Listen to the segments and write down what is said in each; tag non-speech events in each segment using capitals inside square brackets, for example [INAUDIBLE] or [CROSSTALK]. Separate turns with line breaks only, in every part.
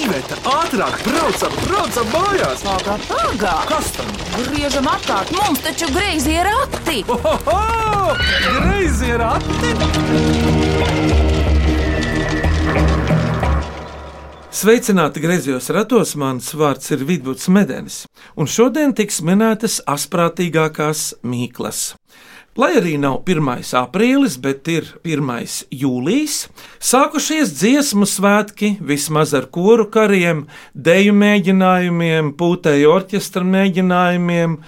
Iveta, ātrāk, braucam, braucam mājās!
Tagad, tagad!
Kas tam?
Griežam apkārt, mums taču greizi ir rati!
Ohoho! Greizi ir atti!
Sveicināti griezos ratos, mans vārds ir Vidvuds Medenis, un šodien tiks minētas asprātīgākās mīklas. Lai arī nav 1. aprīlis, bet ir 1. jūlijs, sākušies dziesmu svētki vismaz ar koru kariem, deju mēģinājumiem, pūtēju orķestra mēģinājumiem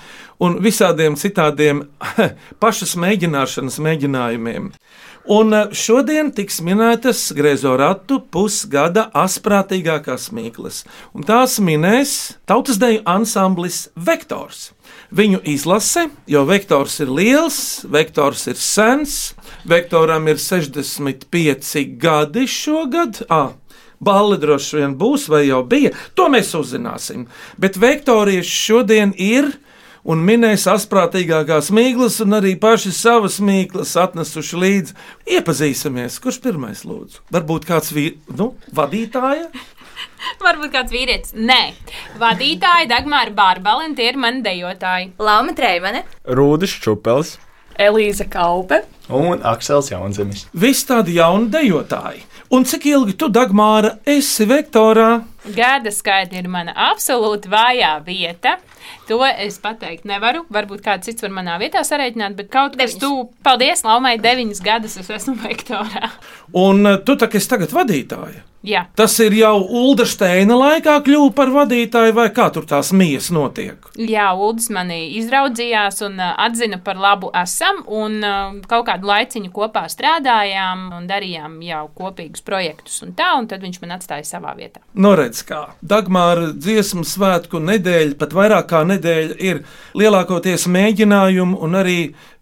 un visādiem citādiem [LAUGHS] pašas mēģināšanas mēģinājumiem. Un eh, šodien tiks minētas Grēzoratu pusgada asprātīgākās mīklas, un tās minēs tautas deju ansamblis Vektors. Viņu izlase, jo vektors ir liels, vektors ir sens, vektoram ir 65 gadi šogad. À, Balli droši vien būs, vai jau bija. To mēs uzzināsim. Bet vektorieši šodien ir un minēs asprātīgākās mīklas, un arī paši savas mīklas atnesuši līdzi. Iepazīsimies, kurš pirmais lūdzu. Varbūt kāds vi... nu, vadītāja?
Varbūt kāds vīrietis. Nē, vadītāji Dagmāra Bārbala un tie ir mani dejotāji.
Lauma Treimane,
Rūdis Čupels
Elīza Kaupe,
un Aksels Jaunzemis.
Visi tādi jauni dejotāji. Un cik ilgi tu, Dagmāra, esi vektorā?
Gada skaita ir mana absolūti vājā vieta. To es pateikt nevaru. Varbūt kāds cits var manā vietā sareiķināt, bet kaut kas
Deviņas.
tuvu. Paldies, Laumai, deviņas gadus es esmu [LAUGHS] vektorā.
Un eh, tu tā kā esi tagad vadītāja.
Jā,
Tas ir jau Ulda Steina laikā kļuva par vadītāju, vai kā tur tās mijas notiek?
Jā, Uldis mani izraudzījās un ā, atzina par labu esam, un ā, kaut kādu laiciņu kopā strādājām un darījām jau kopīgus projektus un tā, un tad viņš man atstāja savā vietā.
Noredz Nu, kā. Dagmāra dziesmu svētku nedēļa, pat vairāk kā nedēļa, ir lielākoties mēģinājumu un arī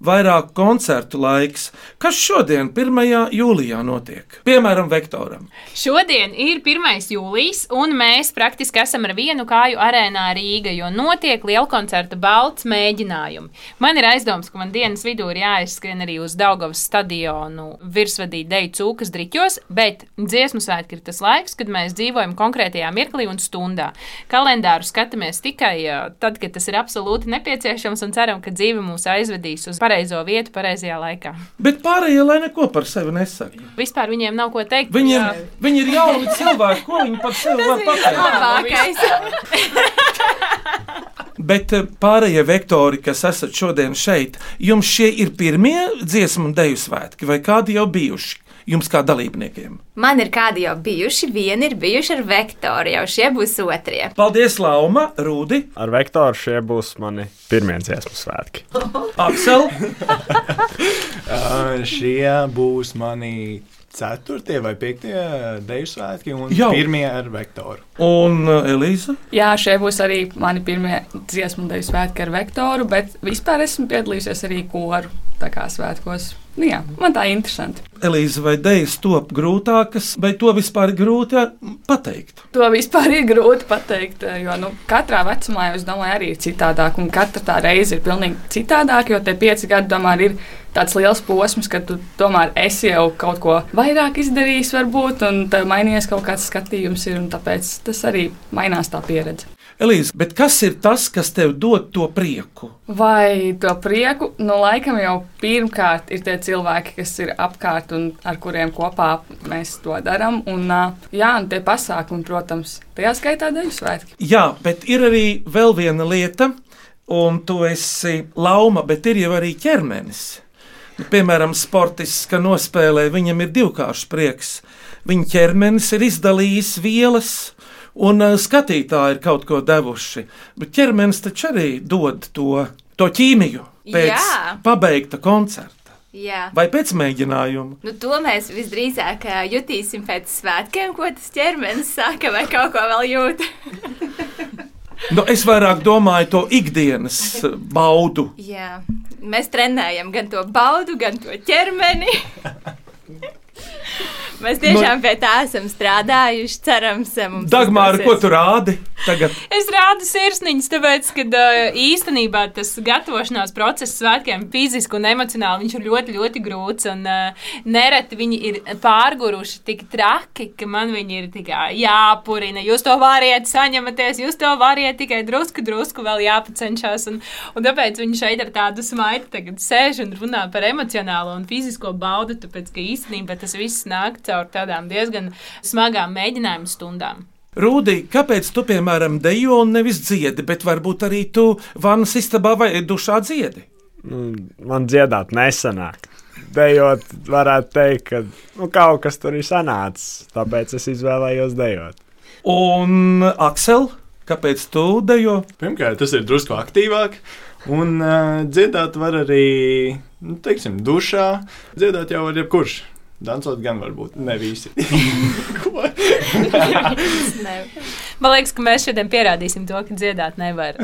vairāk koncertu laiks. Kas šodien, 1. jūlijā, notiek? Piemēram, Vektoram.
Šodien ir 1. jūlijas, un mēs praktiski esam ar vienu kāju arēnā Rīgā, jo notiek liela koncerta balts mēģinājumi. Man ir aizdoms, ka man dienas vidū ir jāizskrien arī uz Daugavas stadionu virsvadīt deju cūkas driķos, bet dziesmu svētki ir tas laiks, kad mēs dzīvojam konkrētajā mirklī un stundā. Kalendāru skatāmies tikai ā, tad, kad tas ir absolūti nepieciešams, un ceram, ka dzīve mūs aizvedīs uz pareizo vietu, pareizajā laikā.
Bet pārējie lai neko par sevi nesaka.
Vispār viņiem nav ko teikt.
Viņiem, viņi ir jauni cilvēki, ko viņi par sevi var pateikt.
labākais.
Bet eh, pārējie vektori, kas esat šodien šeit, jums šie ir pirmie dziesmu un dēļu svētki, vai kādi jau bijuši jums kā dalībniekiem?
Man ir kādi jau bijuši, viena ir bijuši ar vektoru, jau šie būs otrie.
Paldies, Lauma, Rūdi,
Ar vektoru šie būs mani pirmie dziesmu svētki.
Aksel.
Ā, Šie būs mani ceturtie vai piektie deju svētki, un
Jau.
Jau. pirmie ar vektoru.
Un eh, Elīza?
Jā, šie būs arī mani pirmie dziesmu deju svētki ar vektoru, bet vispār esmu piedalījusies arī koru tā kā svētkos. Nu, jā, man tā ir interesanti.
Elīza vai Dejas top grūtākas, vai to vispār ir grūti ar- pateikt?
To vispār ir grūti pateikt, jo nu, katrā vecumā, jau, es domāju, arī ir citādāk. Un katra tā reize ir pilnīgi citādāk, jo tie pieci gadi, domāju, ir tāds liels posms, ka tu tomēr esi jau kaut ko vairāk izdarījis, varbūt, un tev mainījies kaut kāds skatījums, ir, un tāpēc tas arī mainās tā pieredze.
Elīza, bet kas ir tas, kas tev dod to prieku?
Vai to prieku? Nu, laikam jau pirmkārt ir tie cilvēki, kas ir apkārt un ar kuriem kopā mēs to darām. Un, ā, jā, un tie pasākumi, protams, tajā skaitā daļu svētki.
Jā, bet ir arī vēl viena lieta, un tu esi lauma, bet ir jau arī ķermenis. Nu, Piemēram, sportists, ka nospēlē, viņam ir divkāršs prieks. Viņa ķermenis ir izdalījis vielas, un eh, skatītāji ir kaut ko devuši. Bet ķermenis taču arī dod to, to ķīmiju pēc
Jā.
pabeigta koncerta.
Jā.
Vai pēc mēģinājuma?
Nu, to mēs visdrīzāk ā, jutīsim pēc svētkiem, ko tas ķermenis saka, vai kaut ko vēl jūt.
Nu, es vairāk domāju to ikdienas eh, baudu.
Jā.
[LAUGHS]
Mēs trenējam gan to baudu, gan to ķermeni. Mēs tiešām pie tā esam strādājuši. Cerams, eh, mums
Nu- Dagmāra, ko
izdosies.
tu rādi? Tagad
Es rādu sirsniņus, tāpēc, ka uh, īstenībā tas gatavošanās process svētkiem fiziski un emocionāli viņš ir ļoti, ļoti grūts. Un, uh, nereti viņi ir pārguruši tik traki, ka man viņi ir tikai jāpurina. Jūs to variet, saņematies, jūs to variet tikai drusku, drusku vēl jāpacenšas. Un, un tāpēc viņi šeit ar tādu smaidu tagad sēž un runā par emocionālo un fizisko baudu, tāpēc, ka īstenībā tas viss nāk caur tādām diezgan smagām mēģinājumu stundām.
Rūdī, kāpēc tu, piemēram, dejo un nevis dziedi, bet varbūt arī tu vannas istabā vai dušā dziedi?
Nu, Man dziedāt nesanāk. Dejot, varētu teikt, ka nu, kaut kas tur ir sanācis. Tāpēc es izvēlējos dejot.
Un, Aksel, kāpēc tu dejo?
Pirmkārt, tas ir drusku aktīvāk. Un uh, dziedāt var arī, nu, teiksim, dušā. Dziedāt jau var jebkurš. Dansot gan varbūt ne [LAUGHS] visi. Ko?
Ne.
Man liekas, ka mēs šodien pierādīsim to, ka dziedāt nevar.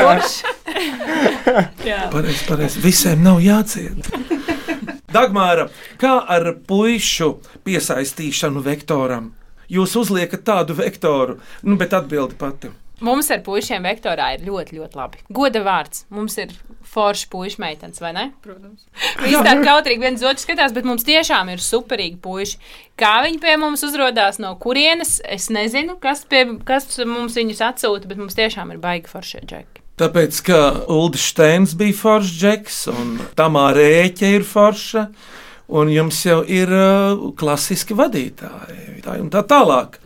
Kurš? [LAUGHS] Jā.
Pareizi, pareizi. Visiem nav jāciet. [LAUGHS] Dagmāra, kā ar pušu piesaistīšanu vektoram? Jūs uzliekat tādu vektoru, nu, bet atbildi pati.
Mums ar puikiem vektorā ir ļoti, ļoti labi. Goda vārds. Mums ir forši puikas meitenes, vai ne?
Protams.
Viņi tā kautrīgi viens otru skatās, bet mums tiešām ir superīgi puikas. Kā viņi pie mums uzrādās, no kurienes, es nezinu, kas, pie, kas mums viņus atsūta, bet mums tiešām ir baigi forši džeki.
Tāpēc, ka Ulrichs Steins bija foršs džeks, un Tamā Rēķa ir forša, un jums jau ir uh, klasiski vadītāji tā un tā tālāk.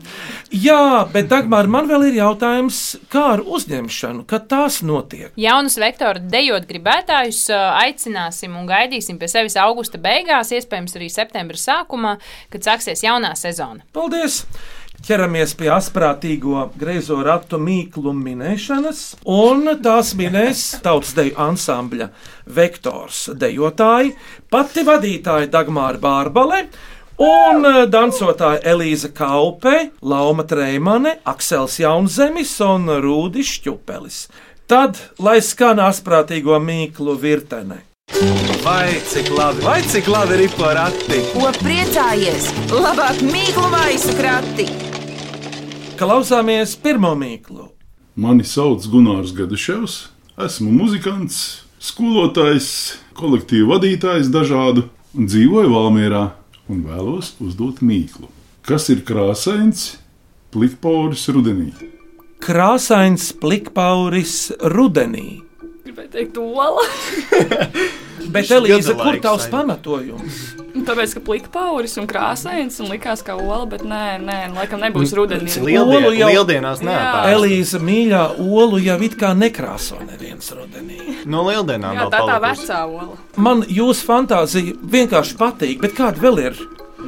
Jā, bet Dagmāra, man vēl ir jautājums, kā ar uzņemšanu, kad tās notiek?
Jaunus vektoru dejot gribētājus ā, aicināsim un gaidīsim pie sevis augusta beigās, iespējams, arī septembra sākumā, kad sāksies jaunā sezona.
Paldies! Ķeramies pie astprātīgo greizo ratu mīklu minēšanas, un tās minēs tautas deju ansambļa vektors, dejotāji, pati vadītāja Dagmāra Bārbale. Un eh, dansotāji Elīza Kaupe, Lauma Trēmane, Aksels Jaunzemis un Rūdis Čupelis. Tad, lai skan astprātīgo mīklu virtene.
Vai cik labi, vai cik labi ir porakti?
Ko priecājies? Labāk mīklu maisu krati.
Klausāmies pirmo mīklu.
Mani sauc Gunārs Gaduševs. Esmu muzikants, skolotājs, kolektīva vadītājs dažādu un dzīvoju Valmjerā un vēlos uzdot mīklu. Kas ir krāsains, plakpauris rudenī?
Krāsains plikpauris rudenī.
Gribēju teikt, ola. [LAUGHS]
Bet,
Šis
Elīze,
gada
kur
laiks
tavs
saim.
pamatojums?
Nu, Tāpēc, ka plakā pauris un krāsains un likās, ka ola, bet nē, nē, laikam nebūs rudenī.
Lieldien,
Olu jau-
lieldienās nē,
Jā.
tā ir.
Elīze mīļā olu jau it kā nekrāso neviens rudenī.
No lieldienām
Jā,
vēl
tā tā
palikusi.
vecā ola.
Man jūsu fantāzija vienkārši patīk, bet kāda vēl ir?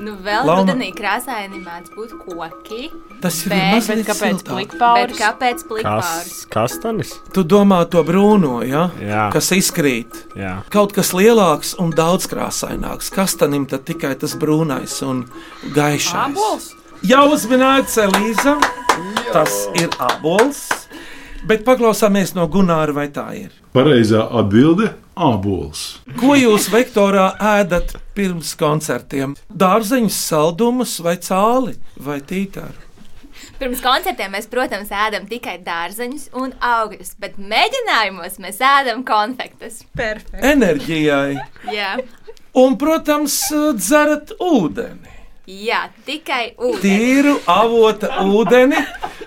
Nu, vēl
Lauma.
rudenī krāsaini mēdz būt koki.
Tas ir
Bet-
mazliet
Bet kāpēc
siltāk.
Bet
plikpauris?
kāpēc plikpārs?
Kas? Kastanis?
Tu domā to brūno, ja?
Jā.
kas izkrīt.
Jā.
Kaut kas lielāks un daudz krāsaināks. Kastanim tad tikai tas brūnais un gaišais.
Abols.
Jau uzminēts Elīza, tas ir abols. Bet paklausāmies no Gunāra, vai tā ir.
Pareizā atbilde - ābols.
Ko jūs vektorā ēdat pirms koncertiem? Dārzeņus, saldumus vai cāli vai tītāru?
Pirms koncertiem mēs, protams, ēdam tikai dārzeņus un augļus, bet mēģinājumos mēs ēdam konfektes. Perfekti.
Enerģijai.
Jā,
Un, protams, dzerat ūdeni.
Jā tikai ūdeni.
Tīru avota ūdeni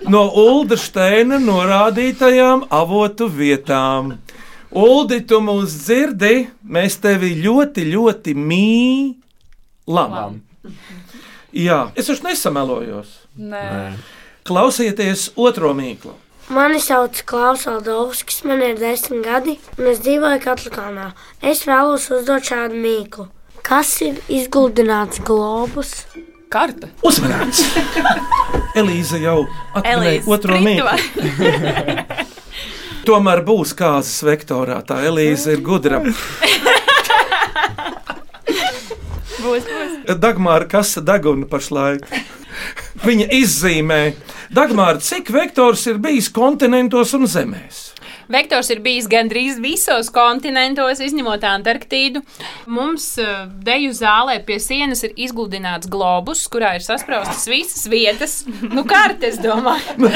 no Ulda Steina norādītajām avotu vietām. Uldi, tu mūs dzirdi, mēs tevi ļoti, ļoti mīlam. Jā, es taču nesamelojos.
Nē.
Klausieties otro mīklu.
Mani sauc Klaus Aldovskis, man ir desmit gadi, un es dzīvoju Katlakānā. Es vēlos uzdot šādu mīklu. Kas ir izguldināts globus?
Karta.
Uzmanīgs! Elīze jau atbildēja
Elīze,
otro mīklu. Tomēr būs kāzas vektorā. Tā Elīze ir gudra.
Būs, būs.
Dagmāra kasa deguna pašlaik. Viņa izzīmē. Dagmāra, cik vektors ir bijis kontinentos un zemēs?
Vektors ir bijis gandrīz visos kontinentos, izņemot Antarktīdu. Mums eh, deju zālē pie sienas ir izgludināts globus, kurā ir sasprāstas visas vietas, nu, kartes, domāju,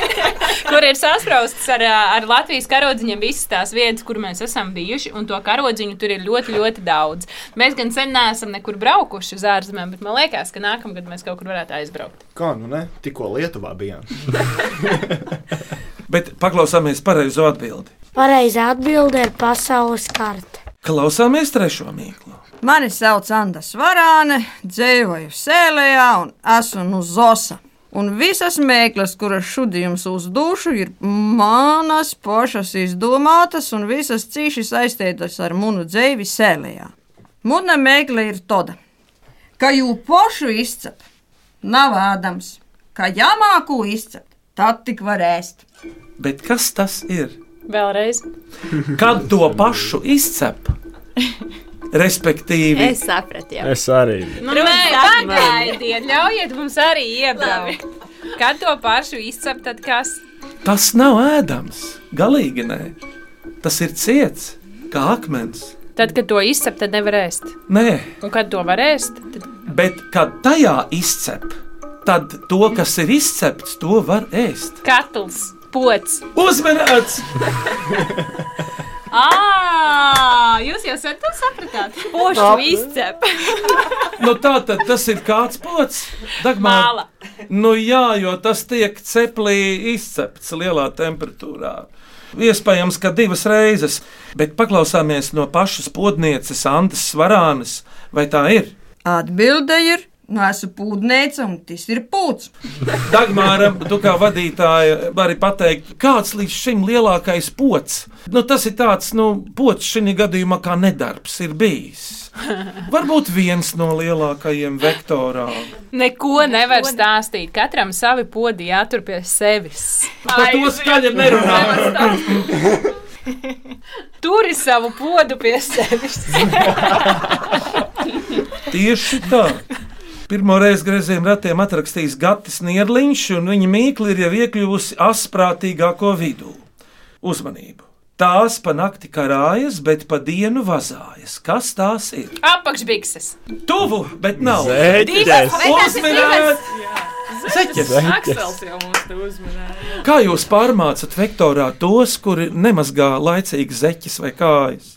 [LAUGHS] kur ir sasprāstas ar, eh, ar Latvijas karodziņiem visas tās vietas, kur mēs esam bijuši, un to karodziņu tur ir ļoti, ļoti daudz. Mēs gan sen neesam nekur braukuši uz ārzemēm, bet man liekas, ka nākamgad mēs kaut kur varētu aizbraukt.
Kā nu ne? Tikko Lietuvā bijām.
Bet paklausāmies pareizo atbildi.
Pareizā atbilde ir pasaules karte.
Klausāmies trešo mīklu.
Mani sauc Anna Svarāne, dzīvoju Sēlējā un esmu no Zosa. Un visas mēklas, kuras šodien jums uzdošu, ir manas pašas izdomātas un visas cīši saistītas ar munu dzīvi Sēlējā. Muna mēkla ir tāda, ka jū pošu izcep, nav ādams, ka jāmāku izcep, tad tik var ēst.
Bet kas tas ir?
Vēlreiz.
Kad to pašu izcep? Respektīvi,
Es sapratu, jau.
Es arī.
Nu, nē, pagaidiet, ļaujiet mums arī iebraukt. Kad to pašu izcept, tad kas?
tas nav ēdams. Galīgi nē, tas ir ciets, kā akmens.
Tad, kad to izcept, tad nevarēs.
Nē,
Un kad to varēs, tad
bet kad tajā izcep, tad to, kas ir izcepts, to var ēst.
katls, pots.
Uzmanīts!
Ā, jūs jau sen to sapratāt. Pošu izcept.
Nu, tā tad tas ir kāds pots, Dagmār.
Māla.
Nu, jā, jo tas tiek ceplī izcepts lielā temperatūrā. Iespējams, ka divas reizes, bet paklausāmies no pašas podnieces Antas Svarānas, vai tā ir?
Atbilde ir, nu esmu pūdnēca un tas ir pūds.
Dagmāram, tu kā vadītāja vari pateikt, kāds līdz šim lielākais pots. Nu, tas ir tāds, nu, pots šī gadījumā kā nedarbs ir bijis. Varbūt viens no lielākajiem vektorām.
Neko nevar stāstīt. Katram savi podi jātur pie sevis.
Par to skaļi nerunājam.
Turi savu podu pie sevis.
Tieši tā. Pirmo reizi grazījuma ratiem atrakstījis Gatis Nierliņš, un viņa mīkla ir jau iekļuvusi asprātīgāko vidū. Uzmanību! Tās pa nakti karājas, bet pa dienu vazājas. Kas tās ir?
Apakšbikses.
Tuvu, bet nav.
Eķis!
Uzmanīt! Zeķes!
Aksels jau mums te uzmanīja.
Kā jūs pārmācat vektorā tos, kuri nemazgā laicīgi zeķes vai kājas?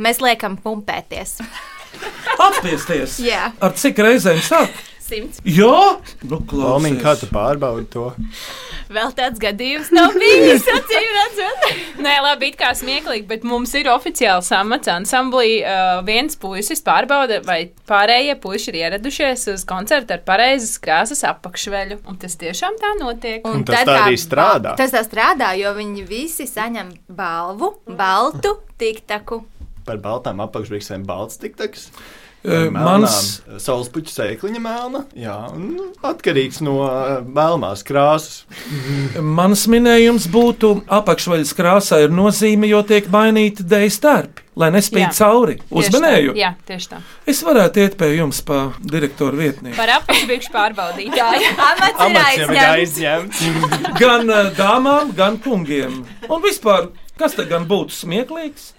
Mēs liekam, pumpēties.
Atspiesties!
Jā,
Ar cik reizēm sāk?
simts.
Jā, nu
Lomiņ, kā tu
klausies.
pārbaudi to?
Vēl tāds gadījums nav bijis. Acīm redzot,
Nē, labi, it kā smieklīgi, bet mums ir oficiāli samats ansamblī. Uh, viens puisis pārbauda, vai pārējie puiši ir ieradušies uz koncertu ar pareizes krāsas apakšveļu. Un tas tiešām tā notiek.
Un tas tā arī strādā.
Tas tā strādā, jo viņi visi saņem balvu, baltu tiktaku.
Par baltām apakšvirsēm balts tiktaks.
Eh, Mans
saulespuķis sēkliņa melna. Jā, un nu, atkarīgs no eh, melnās krāsas.
Mans minējums būtu, apakšveļas krāsā ir nozīme, jo tiek mainīti dēļa starpi, lai nespīd
Jā.
cauri.
Tieši
Uzmanēju!
tā. Jā, tieši tā.
Es varētu iet pie jums, pa direktoru vietnieku.
Par apakšbikšu pārbaudītāju.
Amats ir
Amats jau ir
aizņemts.
aizņemts. [LAUGHS]
Gan eh, dāmām, gan kungiem. Un vispār, kas te gan būtu smieklīgs?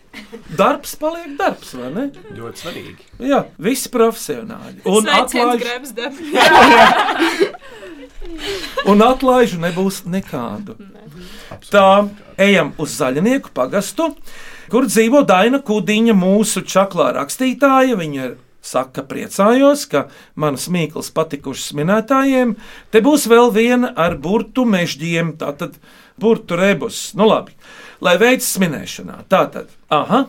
Darbs paliek darbs, vai ne?
Ļoti svarīgi.
Jā, visi profesionāļi. Un atlaiž,
grēbs dabas.
un atlaižu nebūs nekādu. Tā, ejam uz zaļnieku pagastu, kur dzīvo Daina Kudiņa, mūsu čaklā rakstītāja. Viņa ir, saka, priecājos, ka manas mīklas patikušas minētājiem. Te būs vēl viena ar burtu mežģiem, tātad burtu rebus. Nu labi, lai veicas minēšanā. Tātad, aha,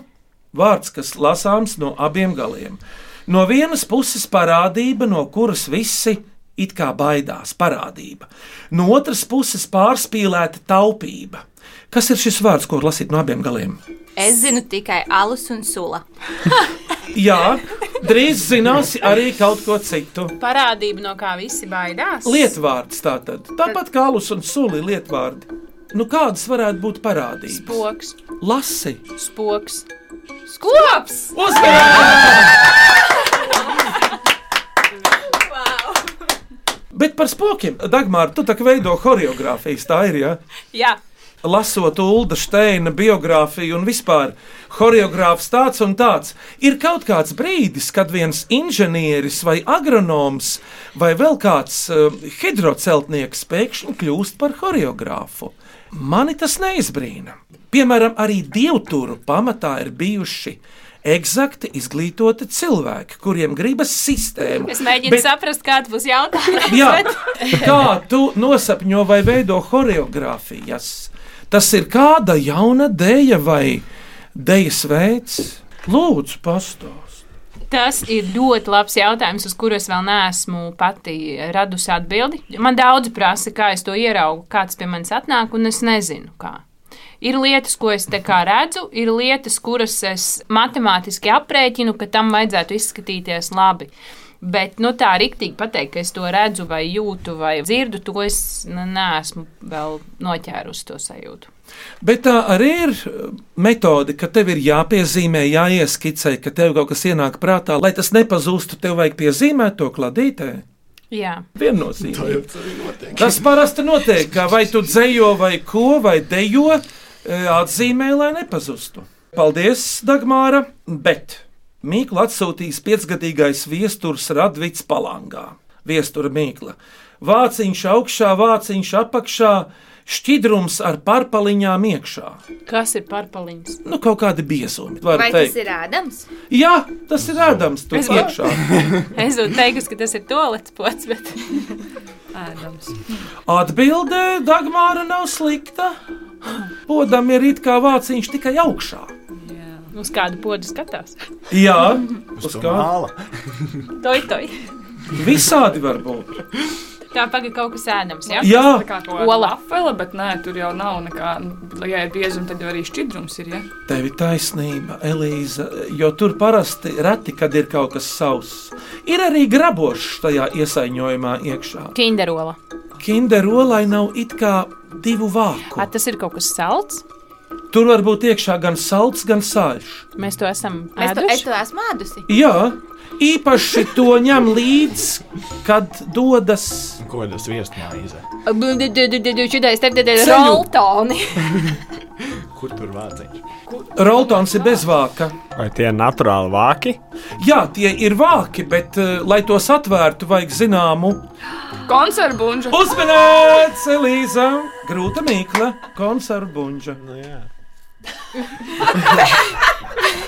vārds, kas lasāms no abiem galiem. No vienas puses parādība, no kuras visi it kā baidās, parādība. No otras puses pārspīlēta taupība. Kas ir šis vārds, ko var lasīt no abiem galiem?
Es zinu tikai alus un sula.
Jā, drīz zināsi arī kaut ko citu.
Parādība, no kā visi baidās.
Lietvārds tātad. Tāpat kā alus un suli lietvārdi. Nu, kādas varētu būt parādības?
Spoks,
Lasi,
spoks, skops!
uzmanīgi! Bet par spokiem. Dagmār, tu tā kā veido choreogrāfijas, tā ir. Ja?
Jā,
Lasot Ulda Steina biogrāfiju un vispār choreogrāfs tāds un tāds, ir kaut kāds brīdis, kad viens inženieris vai agronoms vai vēl kāds uh, hidroceltnieks pēkšņi kļūst par choreogrāfu. Mani tas neizbrīna. Piemēram, arī dievturu pamatā ir bijuši eksakti izglītoti cilvēki, kuriem gribas sistēmu.
es mēģinu Bet... saprast, kāds būs jautājums.
Jā,
bet-
kā tu nosapņo vai veido choreogrāfijas? Tas ir kāda jauna dēļa vai dēļas veids? Lūdzu, pastāst.
Tas ir ļoti labs jautājums, uz kuru es vēl neesmu pati radusi atbildi. Man daudzi prasa, kā es to ieraugu, kāds pie manis atnāk, un es nezinu, kā. Ir lietas, ko es te kā redzu, ir lietas, kuras es matemātiski aprēķinu, ka tam vajadzētu izskatīties labi. Bet nu, tā rīktīgi pateikt, ka es to redzu, vai jūtu, vai dzirdu, to es nu, neesmu vēl noķērusi to sajūtu.
Bet tā arī ir uh, metode, ka tev ir jāpiezīmē, jāieskicē, ka tev kaut kas ienāk prātā. Lai tas nepazūstu, tev vajag piezīmēt to kladītē.
Jā.
Viennozīmīgi. Tas parasti notiek, ka vai tu dzējo, vai ko, vai dejo, e, atzīmē, lai nepazustu. Paldies, Dagmāra! Bet Mīklu atsūtīs piecgadīgais viesturs Radvits Palangā. Viestura Mīkla. Vāciņš augšā, vāciņš apakšā, šķidrums ar parpaliņām iekšā.
Kas ir parpaliņš?
Nu, kaut kādi biezumi.
Vai
Vai
tas
teikt.
ir ādams?
Jā, tas ir ēdams tur
Es varu-
iekšā.
Es jau teicu, ka tas ir toplets pots, bet.
Ēdams.
Atbildē Dagmāra nav slikta. Podam ir it kā vāciņš tikai augšā.
Uz kādu podu skatās?
Jā, uz kā
Toj, toj.
Visādi var būt.
Tā pagaidi kaut kas ēdams. Ja?
Jā.
tā kā kola apvela, bet nē, tur jau nav nekā. nu, Ja ir biezums, tad jau arī šķidrums ir. Ja?
Tev ir taisnība, Elīza, jo tur parasti reti, kad ir kaut kas savs. Ir arī grabošs tajā iesaņojumā iekšā.
Kinderola.
Kinderolai nav it kā divu vāku.
A, tas ir kaut kas salds.
Tur var būt iekšā gan salds, gan sāļš.
Mēs to esam
Es to, es
ēduši.
to esmu ēdusi.
Jā, īpaši to ņem līdzi, kad dodas.
Ko tas viesmājize?
Šitais tev ir
Ceļu.
roltoni.
Kur tur vāciņš?
Roltons ir bez vāka.
Vai tie ir naturāli vāki?
Jā, tie ir vāki, bet, eh, lai tos atvērtu, vajag zināmu
Konservbuļs.
Uzmanīts, Elīza! Grūta mīkla, konservu buļģa.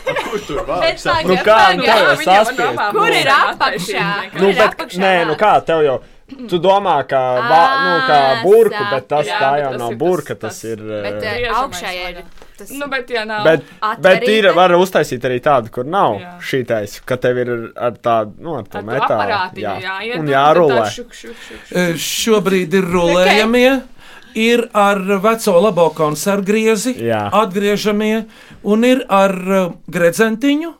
Kur tur
Bet
vāciņš?
tagad,
Nu kā,
tagad,
tev jau
viņam
saspiest?
labā
Kur ir
būs.
apakšā?
Nu,
Kur ir
bet,
apakšā?
nē, nu kā tev jau. Tu domā, ka vā, nu, kā
Ā,
burka,
sāp.
bet tas
Jā,
tā
bet
jau
tas
nav
ir tas-
burka, tas
tas-
ir.
Bet eh,
Bet,
Griežamais
augšā ir
vajag.
tas
Nu, bet, ja nav,
bet, bet ir,
Atverīte.
var uztaisīt arī tādu, kur nav
Jā.
šī taisa, ka tev ir ar tādu, nu, ar to
Ar to
metālu.
aparātiņu jāiet,
un
un tad
jārulē.
tā šuk, šuk, šuk, šuk.
Eh, Šobrīd ir rulējamie, ir ar veco labo konservu griezi,
Jā.
atgriežamie, un ir ar eh, gredzentiņu.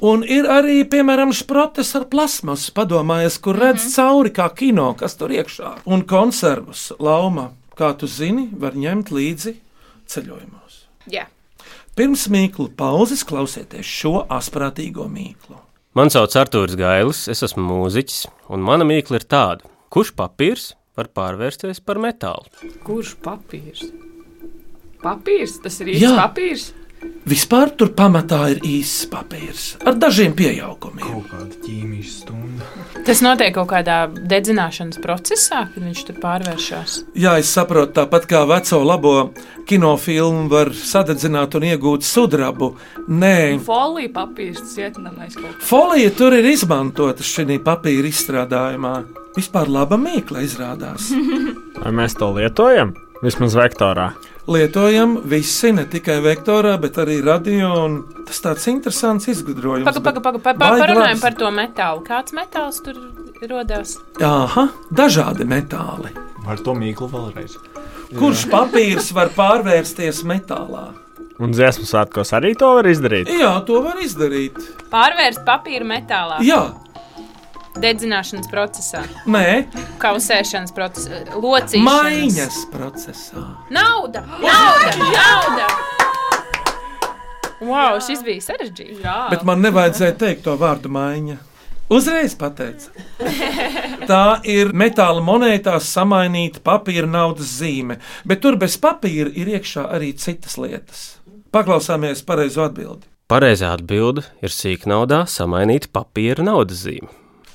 Un ir arī, piemēram, sprotes ar plasmasu. Padomājies, kur redz mm -hmm. cauri kā kino, kas tur iekšā. Un konservus lauma, kā tu zini, var ņemt līdzi ceļojumos.
Jā.
Pirms mīklu pauzes klausieties šo asprātīgo mīklu.
Man sauc Artūrs Gailis, es esmu mūziķis, un mana mīkla ir tāda: kurš papīrs var pārvērsties par metālu?
Kurš papīrs? Papīrs, tas ir
Jā.
īsts papīrs.
Vispār tur pamatā ir īsts papīrs ar dažiem pieaugumiem.
Kaut kāda ķīmijas stunda.
Tas notiek kaut kādā dedzināšanas procesā, kad viņš tur pārvēršas.
Jā, es saprotu, tāpat kā veco labo kinofilmu var sadedzināt un iegūt sudrabu. Nē,
Folija papīrs, tas ietinamais kaut kas.
folija tur ir izmantota šī papīra izstrādājumā. Vispār laba mīkla izrādās.
Vai mēs to lietojam? Vismaz vektorā.
Lietojam visi, ne tikai vektorā, bet arī radio. un Tas tāds interesants izgudrojums.
Pagaidām,
bet-
pagaidām, pa, pa,
Baigi
parunājam
labs.
par to metālu. Kāds metāls tur radās?
Aha, dažādi metāli.
Ar to mīklu vēlreiz.
Kurš papīrs var pārvērsties metālā?
Un dziesmu svētkos arī to var izdarīt.
Jā, to var izdarīt.
Pārvērst papīru metālā.
Jā,
Dedzināšanas procesā,
nē,
kausēšanas procesā, locīšanas.
maiņas procesā.
Nauda! Nauda! Nauda! Wow, šis bija sarežģīts.
Jā,
Bet man nevajadzēja teikt to vārdu maiņa. Uzreiz pateica. Tā ir metāla monētā samainīta papīra naudas zīme, bet tur bez papīra ir iekšā arī citas lietas. Paklausāmies pareizo atbildi.
Pareizā atbilde ir sīknaudā samainīt papīra naudas zīmi.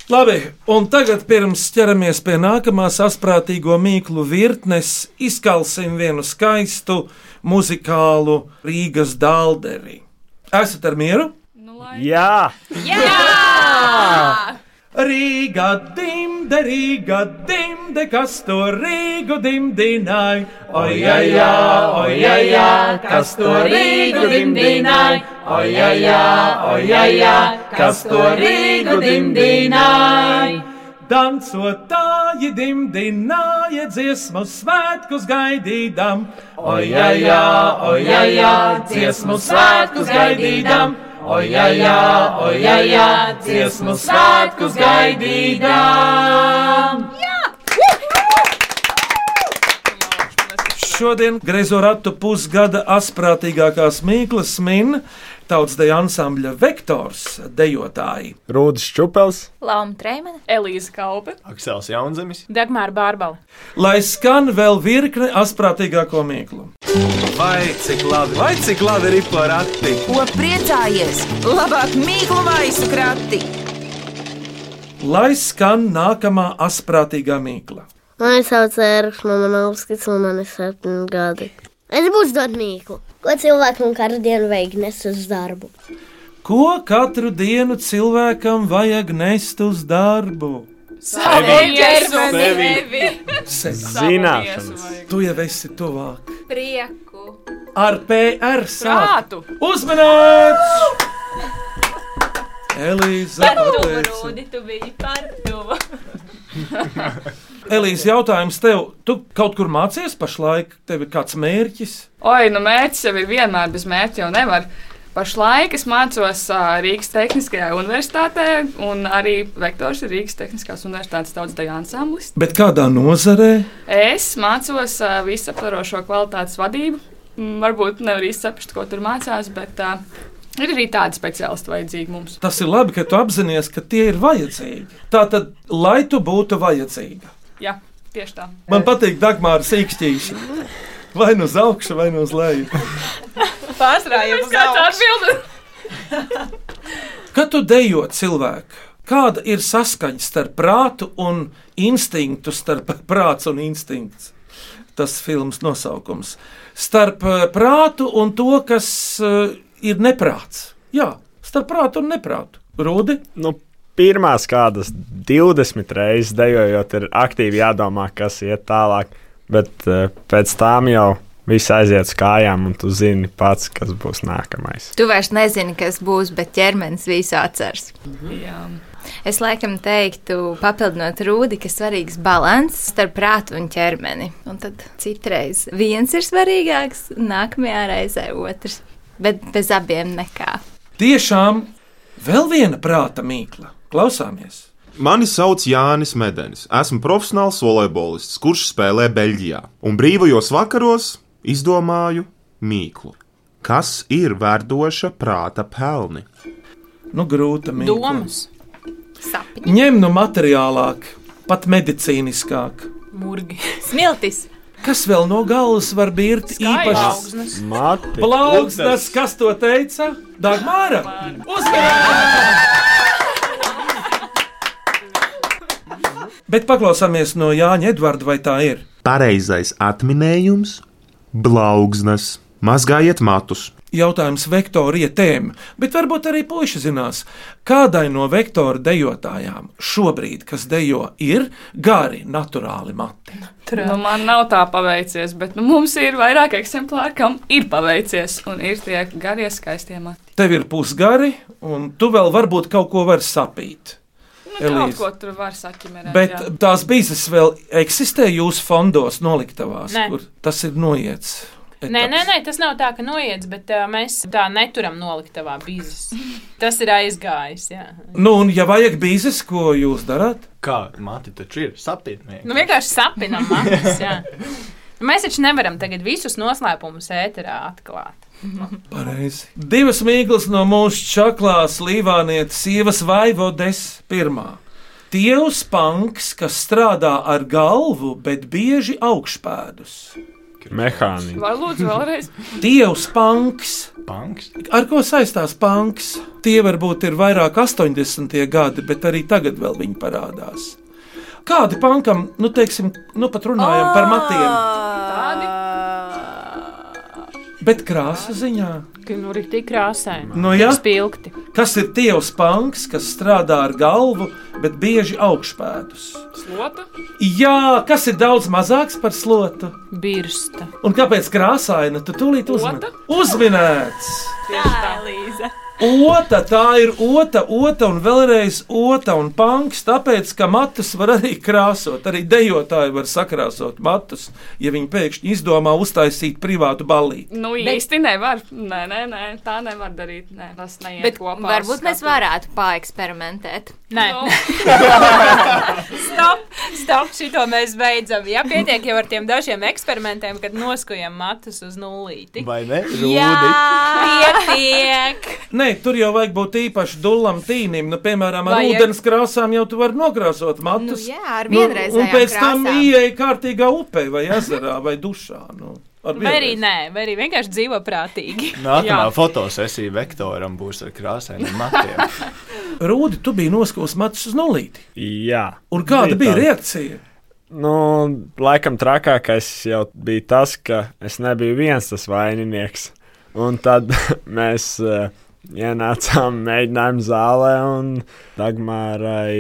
Labi, un tagad pirms ķeramies pie nākamās asprātīgo mīklu virknes, izkalsim vienu skaistu muzikālu Rīgas dālderi. Esat ar mieru?
Jā!
Jā! Rīga dimde, Rīga dimde, kas to Rīgu dimdināja? Ojajā, ojajā, kas to Rīgu dimdināja? Ojajā, ojajā, kas to Rīgu dimdināja? Dancotāji dimdināja dziesmu svētkus gaidīdam, ojajā, ojajā, dziesmu svētkus gaidīdam. Ojajā, ojajā, dziesmu svētkus gaidīdām! Šodien Grezoratu pusgada asprātīgākās mīklas min tautsdeja ansambļa vektors dejotāji.
Rūdas Čupels.
Lauma Treimana,
Elīze Kaupe,
Aksels Jaunzemis.
Dagmāra Bārbala.
Lai skan vēl virkne asprātīgāko mīklu.
Vai cik labi, vai cik labi ir porakti?
Ko priecājies? Labāk mīklu maisu krati!
Lai skan nākamā asprātīgā mīkla.
Mani sauc Eriks, man ir Manovskis, un man ir septiņi gadi. Es būšu dot mīklu. Ko cilvēkam katru dienu vajag nes uz darbu?
Ko katru dienu cilvēkam vajag nest uz darbu? Zināšanas. Tu jau esi tuvāk.
prieku.
Ar PR sāpēm.
Prātu.
Uzmanīts! Elīze, pateica.
Rūdi, tu biji par tuvu.
Elīze, jautājums tev, tu kaut kur mācies pašlaik, tev ir kāds mērķis?
Oi, nu mērķis jau ir vienmēr, bez mērķa jau nevar. Pašlaik es mācos ā, Rīgas Tehniskajā universitātē, un arī vektors ir Rīgas Tehniskās universitātes tautsdeja ansamblis.
Bet kādā nozarē?
Es mācos ā, visaptvarošo kvalitātes vadību. Mm, Varbūt nevar īsti saprast, ko tur mācās, bet ā, ir arī tādi speciālisti vajadzīgi mums.
Tas ir labi, ka tu apzinājies, ka tie ir vajadzīgi. Tā tad, lai tu būtu vajadzīga.
Jā, tieši tā.
Man patīk Dagmāra sīkšķīša. Vai nu uz augšu, vai nu uz leju.
Pārstrājums kā tā atbildi!
Kad tu dejo cilvēku, kāda ir saskaņa starp prātu un instinktu, starp [LAUGHS] prāts un instinkts? Tas filmas nosaukums. Starp eh, prātu un to, kas eh, ir neprāts. Jā, starp prātu un neprātu. Rūdi?
Nu, pirmās kādas 20 reizes dejojot, ir aktīvi jādomā, kas iet tālāk. Bet eh, pēc tam jau viss aiziet uz kājām, un tu zini pats, kas būs nākamais.
Tu vairs nezini, kas būs, bet ķermenis visu atceras.
Jā.
Es laikam teiktu, papildinot rūdi, ka svarīgs līdzsvars starp prātu un ķermeni. Un tad citreiz viens ir svarīgāks, nākamajā reizē otrs. Bet bez abiem nekā.
Tiešām vēl viena prāta mīkla. Klausāmies!
Mani sauc Jānis Medenis. Esmu profesionāls volejbolists, kurš spēlē Beļģijā. Un brīvajos vakaros izdomāju mīklu. Kas ir verdoša prāta pelni?
Nu, grūta mīkla.
Domas,
Ņem no materiālāk, pat medicīniskāk.
murgi,
smiltis.
Kas vēl no galvas var būt īpašs?
Skaļaugsnes.
Mati.
Plauksnes, kas to teica? Dagmāra! Bet paklausāmies no Jāņa Edvarda, vai tā ir?
Pareizais atminējums - blaugsnes. Mazgājiet matus.
Jautājums vektora ietēm, bet varbūt arī puiši zinās, kādai no vektora dejotājām šobrīd, kas dejo, ir gari, naturāli mati.
Nu, man nav tā paveicies, bet nu, mums ir vairāk eksemplāri, kam ir paveicies. Un ir tie garie skaistie mati.
Tev ir pusgari, un tu vēl varbūt kaut ko vari sapīt.
Nu,
Elīze.
kaut ko tur var saķimerēt.
Bet
jā.
tās bīzes vēl eksistē jūsu fondos, noliktavās,
Nē.
kur tas ir noiets.
Nē, nē, nē, tas nav tā, ka noiets, bet uh, mēs tā neturam noliktavā bizes. Tas ir aizgājis. Jā.
Nu, un ja vajag bīzes, ko jūs darāt?
Kā mati taču ir sapņi.
Nu, vienkārši sapinam, Nu, matus, jā. Mēs taču nevaram tagad visus noslēpumus ēterā atklāt.
Pareizi. Divas mīklas no mūsu čaklās līvānietes sievas vaivodes pirmā. Tievs panks, kas strādā ar galvu, bet bieži augšpēdus.
Mehāniķis.
Vai lūdzu [LAUGHS] vēlreiz?
Dievs panks.
Panks?
Ar ko saistās panks? Tie varbūt ir vairāk 80. gadi, bet arī tagad vēl viņi parādās. Kādi pankam, nu, teiksim, nu pat runājam par matiem,
Tādi
bet krāsa ziņā.
ka nu ir tik krāsaini.
Nu, jā.
Tik spilgti.
Kas ir tievs panks, kas strādā ar galvu, bet bieži augšpēdus?
Slota?
Jā, kas ir daudz mazāks par slotu?
Birsta.
Un kāpēc krāsaina? Tu tūlīt uzmin... uzminēts.
Tieši tā, Līza.
Ota, tā ir ota, ota un vēlreiz ota un panks, tāpēc, ka matus var arī krāsot. Arī dejotāji var sakrāsot matus, ja viņi pēkšņi izdomā uztaisīt privātu ballīti.
Nu,
Bet-
bet... īsti nevar. Nē, nē, nē, tā nevar darīt. Nē, tas neiet
Bet
kopā. ar
varbūt mēs
skatu. Nu.
varētu paeksperimentēt.
Nē, Nu,
[LAUGHS]
Stop, stop, šito mēs beidzam. Jā, pietiek jau ar tiem dažiem eksperimentiem, kad noskujam matus uz nulīti.
Vai ne?
pietiek!
Nē, tur jau vajag būt īpaši dulam tīnim. Nu, piemēram, ar
Vajag.
ūdens krāsām jau tu vari nokrāsot matus.
Nu jā, ar
Nu,
un, un
vienreizējām
pēc tam
krāsām.
ieeja kārtīgā upē vai ezerā vai dušā. Nu, ar
Vai arī
vienreiz.
nē, vai arī vienkārši dzīvo prātīgi.
Nākamā fotosesija vektoram būs ar krāsainiem matiem.
Rūdi, tu biji noskūs matus uz nulīti.
Jā.
Un kāda bija,
Bija tā.
reakcija?
Nu, laikam trakākais jau bija tas, ka es nebiju viens tas vaininieks. Un tad [LAUGHS] mēs uh, ienācām mēģinājuma zālē, un Dagmārai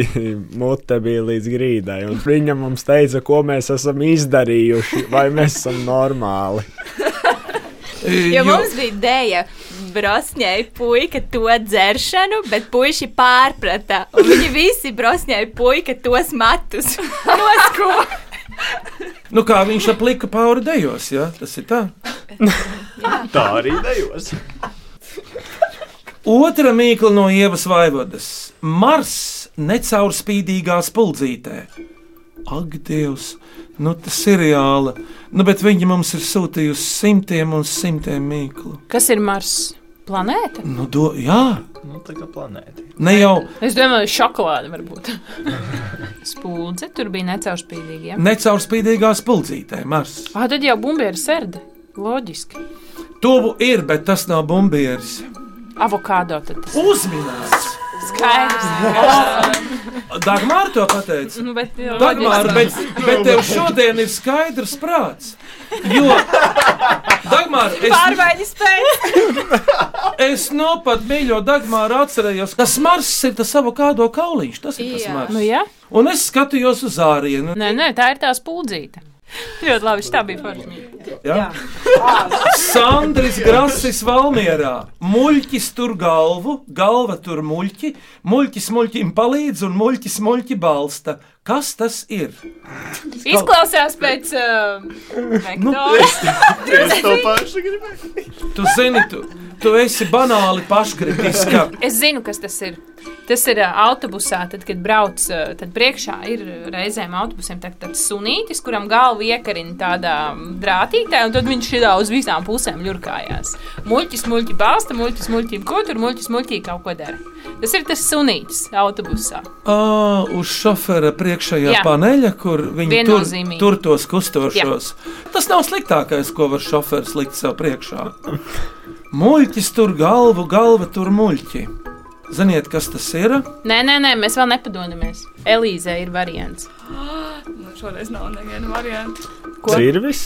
[LAUGHS] mute bija līdz grīdai. Un Viņa mums teica, ko mēs esam izdarījuši, vai mēs esam normāli.
E,
Jo mums bija dēļa brosņai puika to dzeršanu, bet puiši pārprata. Un Viņi visi brosņai puika tos matus [LAUGHS] noskūpīja.
Nu, kā viņš aplika pāri dejos, ja? tas ir tā.
Tā arī dejos.
Otra mīkla no ievas vaivodas. Mars necaurspīdīgā spuldzītē. Ak, Dievs, nu tas ir reāli. Nu, bet viņa mums ir sūtījusi simtiem un simtiem mīklu.
Kas ir Mars? Planēta?
Nu, do, jā,
Nu, tā kā planēta.
[LAUGHS] ne jau
Es domāju, šokolāde varbūt. [LAUGHS] Spuldze tur bija necaurspīdīga. Ja?
necaurspīdīgā spuldzītē, Mars.
Ah, tad jau bumbiņa ir sērde. Loģiski.
Tuvu ir, bet tas nav bumbieris.
Avokādo tad tas
Uzminēts!
skaidrs.
Dagmāra to pateica.
[LAUGHS] Nu, bet, jā,
Dagmāra, bet,
loģiski.
bet tev šodien ir skaidrs prāts. Jo, Dagmāra, es,
Pārmaiņas pēc.
es no pat mīļo Dagmāru atcerējos, ka tas mars ir tas avokādo kauliņš. Tas ir tas
Jā.
mars.
Nu, jā.
Un es skatījos uz ārienu.
Nē, nē, tā ir tā spuldzīte. Ļoti labi, šī tā bija forša.
Ja? Sandrija Grasis Valmjerā. Muļķis tur galvu, galva tur muļķi, muļķis muļķim palīdz un muļķis muļķi balsta. Kas tas ir?
Izklausās pēc uh, vektora.
Es to pašu gribēju.
Tu zini, tu, tu esi banāli paškritiska.
Es zinu, kas tas ir. Tas ir ā, autobusā, tad, kad brauc, ā, tad priekšā ir reizēm autobusiem tā- tāds sunītis, kuram galva iekarina tādā drātītē, un tad viņš šitā uz visām pusēm ļurkājās. Muļķis, muļķi balsta, muļķis, muļķi ko tur, muļķis, muļķi kaut ko dara. Tas ir tas sunītis autobusā.
À, uz šofera priekšējā
Jā.
Jā. paneļa, kur viņi tur,
Viennozīmīgi.
tur tos kustošos. Jā. Tas nav sliktākais, ko var šoferis likt sev priekšā. Muļķis tur galvu, galva tur muļķi. Ziniet, kas tas ir?
Nē, nē, nē, mēs vēl nepadodamies. Elīze ir variants.
Nu, šoreiz nav neviena varianta.
Cirvis?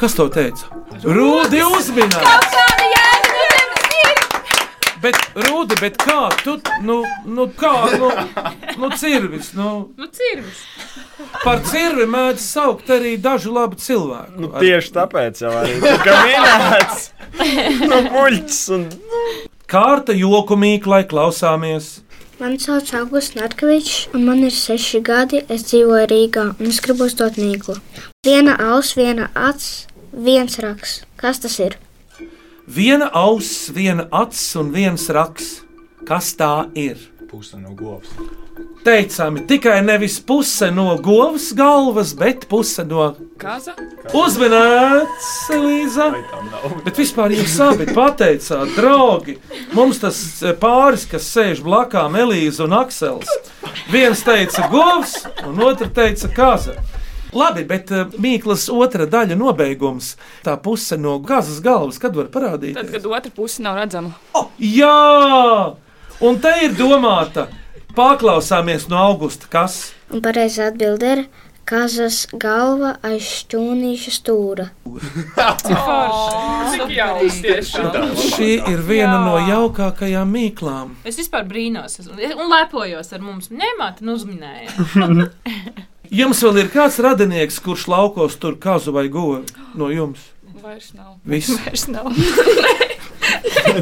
Kas to teica? Rūdi uzminēt!
Kāda jēga? Nu, tev ir!
Bet, Rūdi, bet kā tu, nu, nu kā, nu, nu cirvis, nu,
Nu, cirvis.
par cirvi mēdz saukt arī dažu labu cilvēku. Nu,
Tieši tāpēc jau arī tika minēts. Nu, muļķis un
Kārta joku mīklai klausāmies.
Mani sauc Augusts Natkevičs, un man ir seši gadi. Es dzīvoju Rīgā, un es gribu uzdot mīklu. Viena auss, viena acis, viens raksts. Kas tas ir?
Viena auss, viena acis un viens raksts. Kas tā ir?
puse no govs.
Teicami tikai nevis puse no govs galvas, bet puse no
Kaza?
Uzmanīts, Elīza! Bet vispār jūs abi pateicāt, draugi. Mums tas eh, pāris, kas sēž blakām, Elīza un Aksels. Viens teica govs, un otrs teica kaza. Labi, bet eh, mīklas otra daļa nobeigums. Tā puse no gazas galvas, kad var parādīt?
Tad, kad otra puse nav redzama.
Jā, un te ir domāta. Paklausāmies no augusta, kas
Un pareizā atbild ir kazas galva aiz šķūnīša stūra.
Cik jauks tiešām.
šī ir viena no jaukākajām mīklām.
Es vispār brīnos es- un lepojos ar mums. Nemāt, nu uzminēja.
Jums vēl ir kāds radinieks, kurš laukos tur kazu vai govu no jums?
Vairs nav.
Viss.
Vairs nav.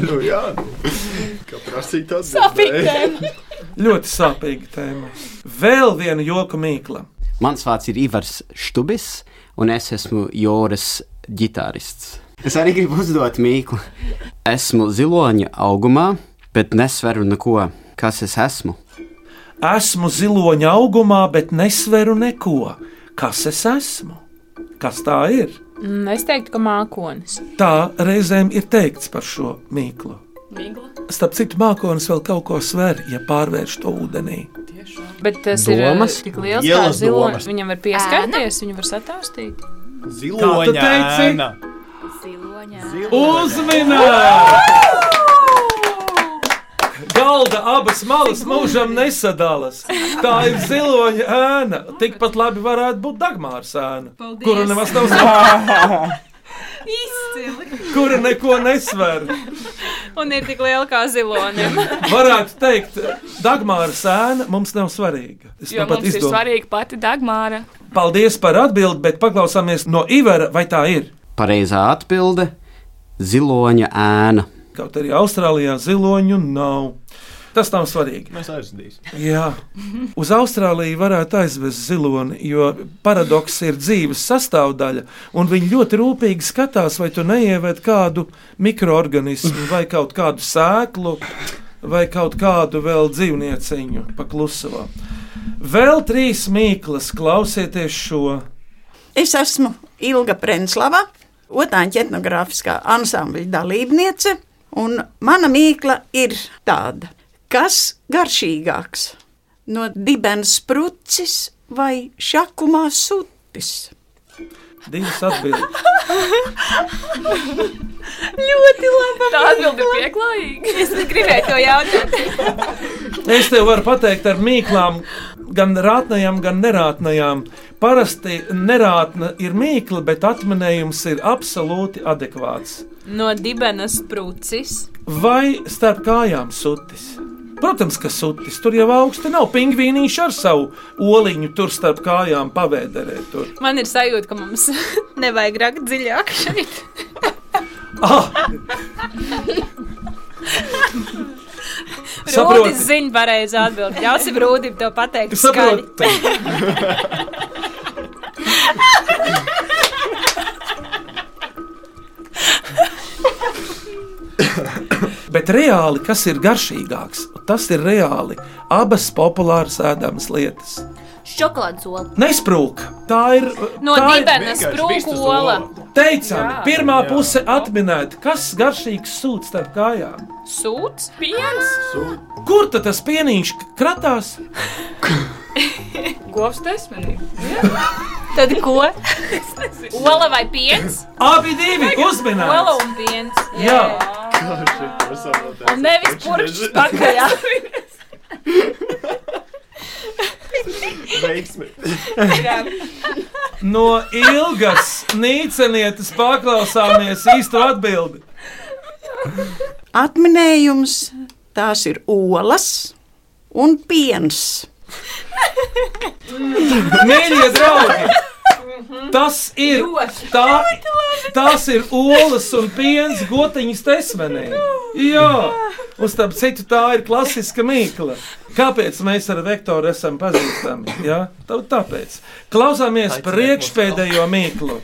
nu, jā, nu. kā prasīt tas
Sāpīgi tēma.
Ļoti sāpīga tēma. Vēl viena joka mīkla.
Mans vārds ir Ivars Štubis, un es esmu Joras ģitārists. Es arī gribu uzdot mīklu. Esmu ziloņa augumā, bet nesveru neko, kas es esmu.
Esmu ziloņa augumā, bet nesveru neko. Kas es esmu? Kas tā ir?
Mm, Es teiktu, ka mākonis.
Tā reizēm ir teikts par šo mīklu.
Mīgla?
Starp citu, mākonis vēl kaut ko sver, ja pārvērš to ūdenī.
Bet tas ir
Domas?
eh, tik liels, kā
Lielas
zilonis.
domas.
Viņam var pieskarties, viņu var sataustīt.
Kā tu teici?
Ziloņēna.
Uzmanīgi! Galda abas malas mūžam nesadalās. Tā ir ziloņa ēna. Tikpat labi varētu būt Dagmāras ēna,
Paldies!
kura nemaz nav zināma,
Izcili!
kura neko nesver.
Un ir tik liela kā zilonim.
Varētu teikt, Dagmāras ēna mums nav svarīga. Es
Jo
tāpat
mums ir
izdomāju.
svarīga pati Dagmāra.
Paldies par atbildi, bet paklausāmies no Ivera, vai tā ir.
Pareizā atbilde - ziloņa ēna.
Kaut arī Austrālijā ziloņu nav. Tas nav svarīgi.
Mēs aizsūtīsim.
Jā, uz Austrāliju varētu aizvest ziloni, jo paradoks ir dzīves sastāvdaļa. un Viņi ļoti rūpīgi skatās, vai tu neieved kādu mikroorganismu, vai kaut kādu sēklu, vai kaut kādu vēl dzīvnieciņu paklusavā. Vēl trīs mīklas, klausieties šo.
Es esmu Ilga Prenslava, otrāņa etnogrāfiskā ansambļa dalībniece, un mana mīkla ir tāda, kas garšīgāks no dibens prucis vai šakumā sutis.
Divas atbildes.
Ļoti labi!
Tā atbilde ir pieklājīga.
Es gribēju to jautāt.
Es tev varu pateikt ar mīklām, gan rātnējām, gan nerātnējām. Parasti nerātna ir mīkla, bet atminējums ir absolūti adekvāts.
No dibenas prūcis.
vai starp kājām sutis. Protams, ka sutis tur jau augsti nav. Pingvīnīši ar savu oliņu tur starp kājām pavēderē. Tur.
Man ir sajūta, ka mums [LAUGHS] nevajag rakt dziļāk šeit.
Ah! Saprotu.
Rūdis zina pareizi atbildi. Ļausim Rūdim to pateikt.
Saprotu. [LAUGHS] Bet reāli, kas ir garšīgāks, tas ir reāli abas populāras ēdamas lietas.
Šokolādes ola.
Nesprūk. Tā ir.
No
tā ir-
dibenas Vienkārši sprūk vistas ola. ola.
Teicami,
Jā.
pirmā
Jā.
puse atminēta, kas garšīgs sūds starp kājām.
Sūds, piens,
Kur tad tas pienīšs kratās?
Govs desmitnieks.
tad [LAUGHS] ko? Ola vai piens?
Abi divi uzminēti.
[LAUGHS] Ola un piens.
Jā.
Un nevis purkšs pakaļā.
Veiksmi.
No ilgas nīcenietes paklausāmies īsto atbildi.
Atminējums tās ir olas un piens.
Mīļie draugi, tas ir. Tā, tās ir olas un piens gotiņas tesmenē. Jā, un starp citu, tā ir klasiska mīkla. Kāpēc mēs ar vektoru esam pazīstami? Jā, tā- tāpēc. Klausāmies priekšpēdējo mīklu.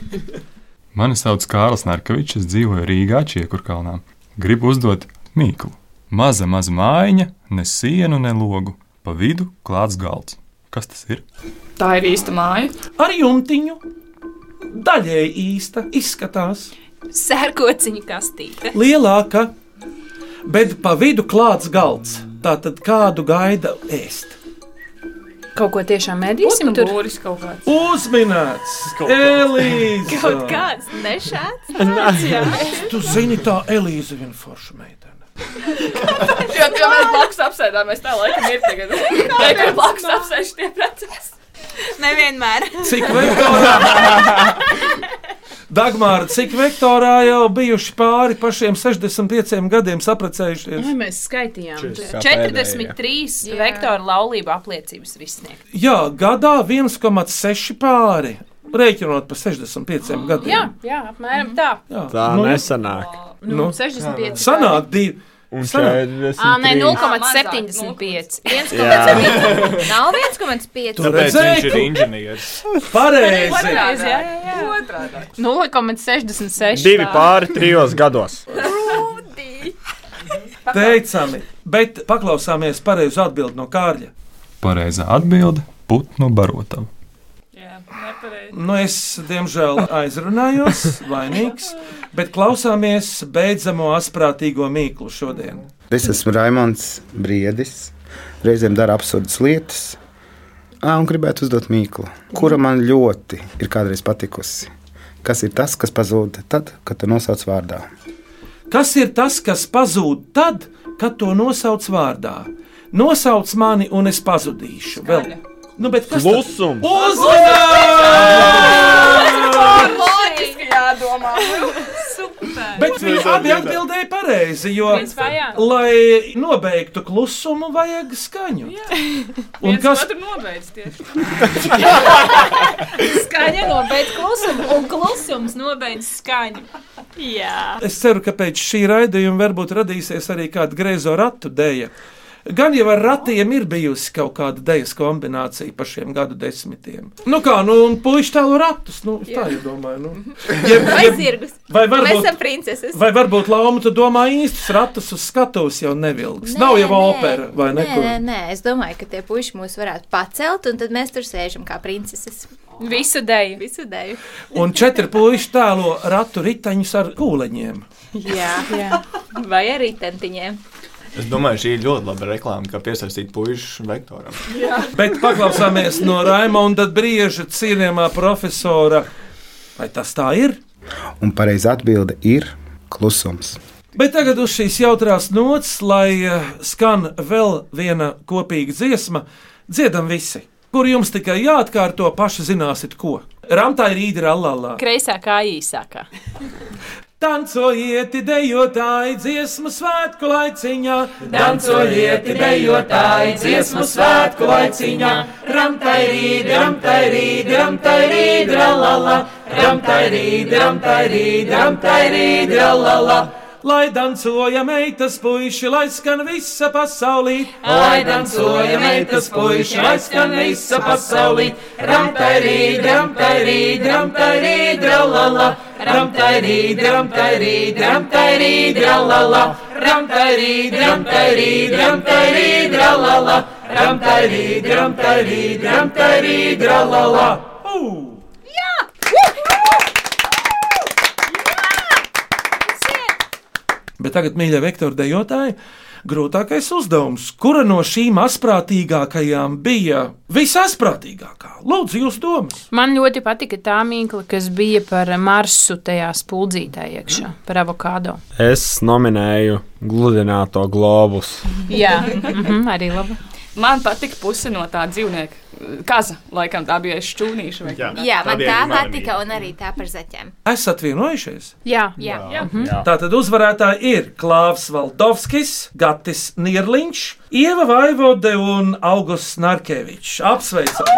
Mani sauc Kārlis Narkevičs, es dzīvoju Rīgā, Čiekurkalnā. Gribu uzdot mīklu. Maza, maza mājiņa, ne sienu, ne logu. Pa vidu klāts galds. Kas tas ir?
Tā ir īsta māja.
Ar jumtiņu. Daļēji īsta izskatās.
Sērkociņu kastīte.
Lielāka, bet pa vidu klāts galds. Tā tad kādu gaida ēst?
Kaut ko tiešām medīsim tur?
Būris kaut kāds.
Uzminēts! Elīze!
Kaut kāds nešāds.
Tu zini, tā Elīze ir forša meitene.
Jo, jo mēs blakus apsēdāmies, tā laikam ir tagad. Tā [LAUGHS] kā blakus apsēž tie procesi.
Nevienmēr.
Cik vektorā? Dagmāra, cik vektorā jau bijuši pāri pašiem 65 gadiem
Vai
saprecējušies?
mēs skaitījām?
Čis, kā
43 vektora laulību apliecības var izsniegt.
Jā, gadā 1,6 pāri. Rēķinot par 65 gadiem.
Jā, jā, apmēram tā.
Tā nu, nesanāk.
Nu, 65
Sanāk divi.
Sanāk.
Ā, nē, 0,75.
0,75. Nav 1,5.
Tu redzēji,
viņš ir
tu-
inženieris.
Pareizi!
Pareizi, jā, jā, jā. 0,66.
Divi pāri trijos gados.
Teicami, bet paklausāmies pareizi atbild no Kārļa.
Pareizā atbilde - putnu barotava.
Nu, es, diemžēl, aizrunājos, vainīgs, bet klausāmies beidzamo asprātīgo mīklu šodien.
Es esmu Raimons Briedis. Reizēm dara absurdas lietas. Ā, un gribētu uzdot mīklu, kura man ļoti ir kādreiz patikusi. Kas ir tas, kas pazūd tad, kad tu nosauc vārdā?
Kas ir tas, kas pazūd tad, kad to nosauc vārdā? Nosauc mani, un es pazudīšu. Vēl. Nu, bet kas tas
Klusums.
Uzmanības!
Loģiski jādomā.
Bet viņi abi atbildēja pareizi, jo,
Principā, jā.
lai nobeigtu klusumu, vajag skaņu. Un
Un
kas-
kas tur nobeidz tieši?
Skaņa nobeidz klusumu, un klusums nobeidz skaņu. Jā.
Es ceru, ka pēc šī raidījuma varbūt radīsies arī kāda greizo ratu dēļa. Gan jau ar ratiem ir bijusi kaut kāda dēļas kombinācija pa šiem gadu desmitiem. Nu kā, nu, un puikas tēlu ratus. Nu, es tā
Jā.
jau domāju. Nu.
Vai zirgus?
Vai
Mēs esam
varbūt,
princeses.
vai varbūt Lapa, tu domā īstus ratus uz skatuves jau nevilks?
Nē,
Nav jau
nē.
opera vai
Nē,
nekur.
nē, nē, es domāju, ka tie puiši mūs varētu pacelt, un tad mēs tur sēžam kā princeses.
Visu dēļ.
Visu dēļ.
Un četri puikas tēlo ratu riteņus ar kūleņiem.
Jā, jā. Vai arī tentiņiem.
Es domāju, šī ir ļoti laba reklāma, kā piesaistīt puikas vektoram.
Bet paklausāmies no Raimonda Brieža, cienījamā profesora. Vai tas tā ir?
Un pareizā atbilde ir klusums.
Bet tagad uz šīs jautrās nots, lai eh, skan vēl viena kopīga dziesma, dziedam visi, kur jums tikai jāatkārto paši zināsit, ko. Rāmtā ir īri allālā.
Kreisā kā īsākā.
Tancojiet, dejotāji, dziesmu svētku laiciņā,
Dancojiet, dejotāji, dziesmu svētku laiciņā. Ramtairīd, ramtairīd, ramtairīd, ralala. Ramtairīd, ramtairīd, ramtairīd, ralala.
Lai dancoja meitas puiši, lai skan visa pasaulī.
Lai dancoja meitas puiši, lai skan visa pasaulī. Ramtairīd, ramtairīd, ramtairīd, ralala. Ramtairīd, ramtairīd, ramtairīd, ralala. Ramtairīd, ramtairīd, ramtairīd, ralala. Ramtairīd, ramtairīd, ramtairīd, ralala.
Bet tagad, mīļie vektora dejotāji, grūtākais uzdevums, kura no šīm asprātīgākajām bija visasprātīgākā? Lūdzu, jūs domas!
Man ļoti patika tā mīkla, kas bija par marsu tajā spuldzītē iekšā, par avokado.
Es nominēju gludināto globus.
Jā, mhm, arī labi.
Man patika puse no tā dzīvnieka. Kaza, laikam, tā bija šķūnīša. Jā,
Jā, man tā patika, un arī tā par zaķiem.
Esat vienojušies?
Jā,
jā.
jā.
Jā. Tātad uzvarētāji ir Klāvs Valdovskis, Gatis Nierliņš, Ieva Vaivode un Augusts Narkevičs. Apsveicam!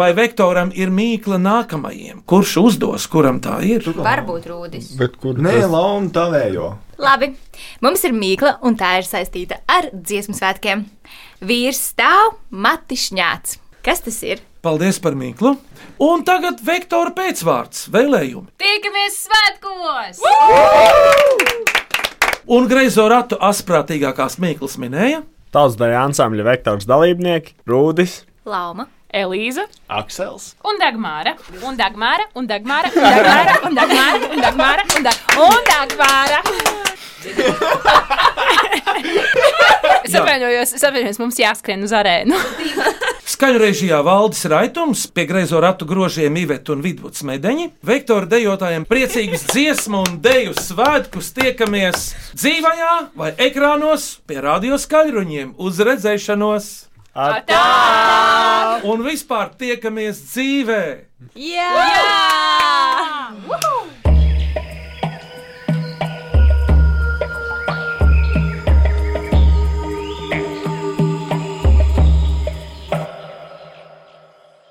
Vai vektoram ir mīkla nākamajiem? Kurš uzdos, kuram tā ir?
Varbūt rūdis.
Bet kur? Nē,
tas-
Launa, tavējo.
Labi, mums ir mīkla, un tā ir saistīta ar dziesmu svētkiem. Vīrs stāv matišņāts. Kas tas ir?
Paldies par mīklu! Un tagad vektora pēcvārds - vēlējumi.
Tiekamies svētkos!
Un greizo ratu asprātīgākās mīklas minēja
Tautsdaļa ansambļa vektors dalībnieki Rūdis.
Lauma, Elīza
Aksels.
un Dagmāra. Un Dagmāra, un Dagmāra, un Dagmāra, un Dagmāra, un Dagmāra, un Dagmāra. Un Dagmāra. Es atvainojos, es atvainojos, mums jāskrien uz arēnu.
skaņu režijā Valdis Raitums, pie greizo ratu grožiem Iveta un Vidvuds Medeņi. Vektora dejotājiem priecīgas dziesmu un deju svētkus tiekamies dzīvajā vai ekrānos pie radio skaļruņiem uz redzēšanos. Atā! Un vispār tiekamies dzīvē!
Jā! Jā! Woohoo!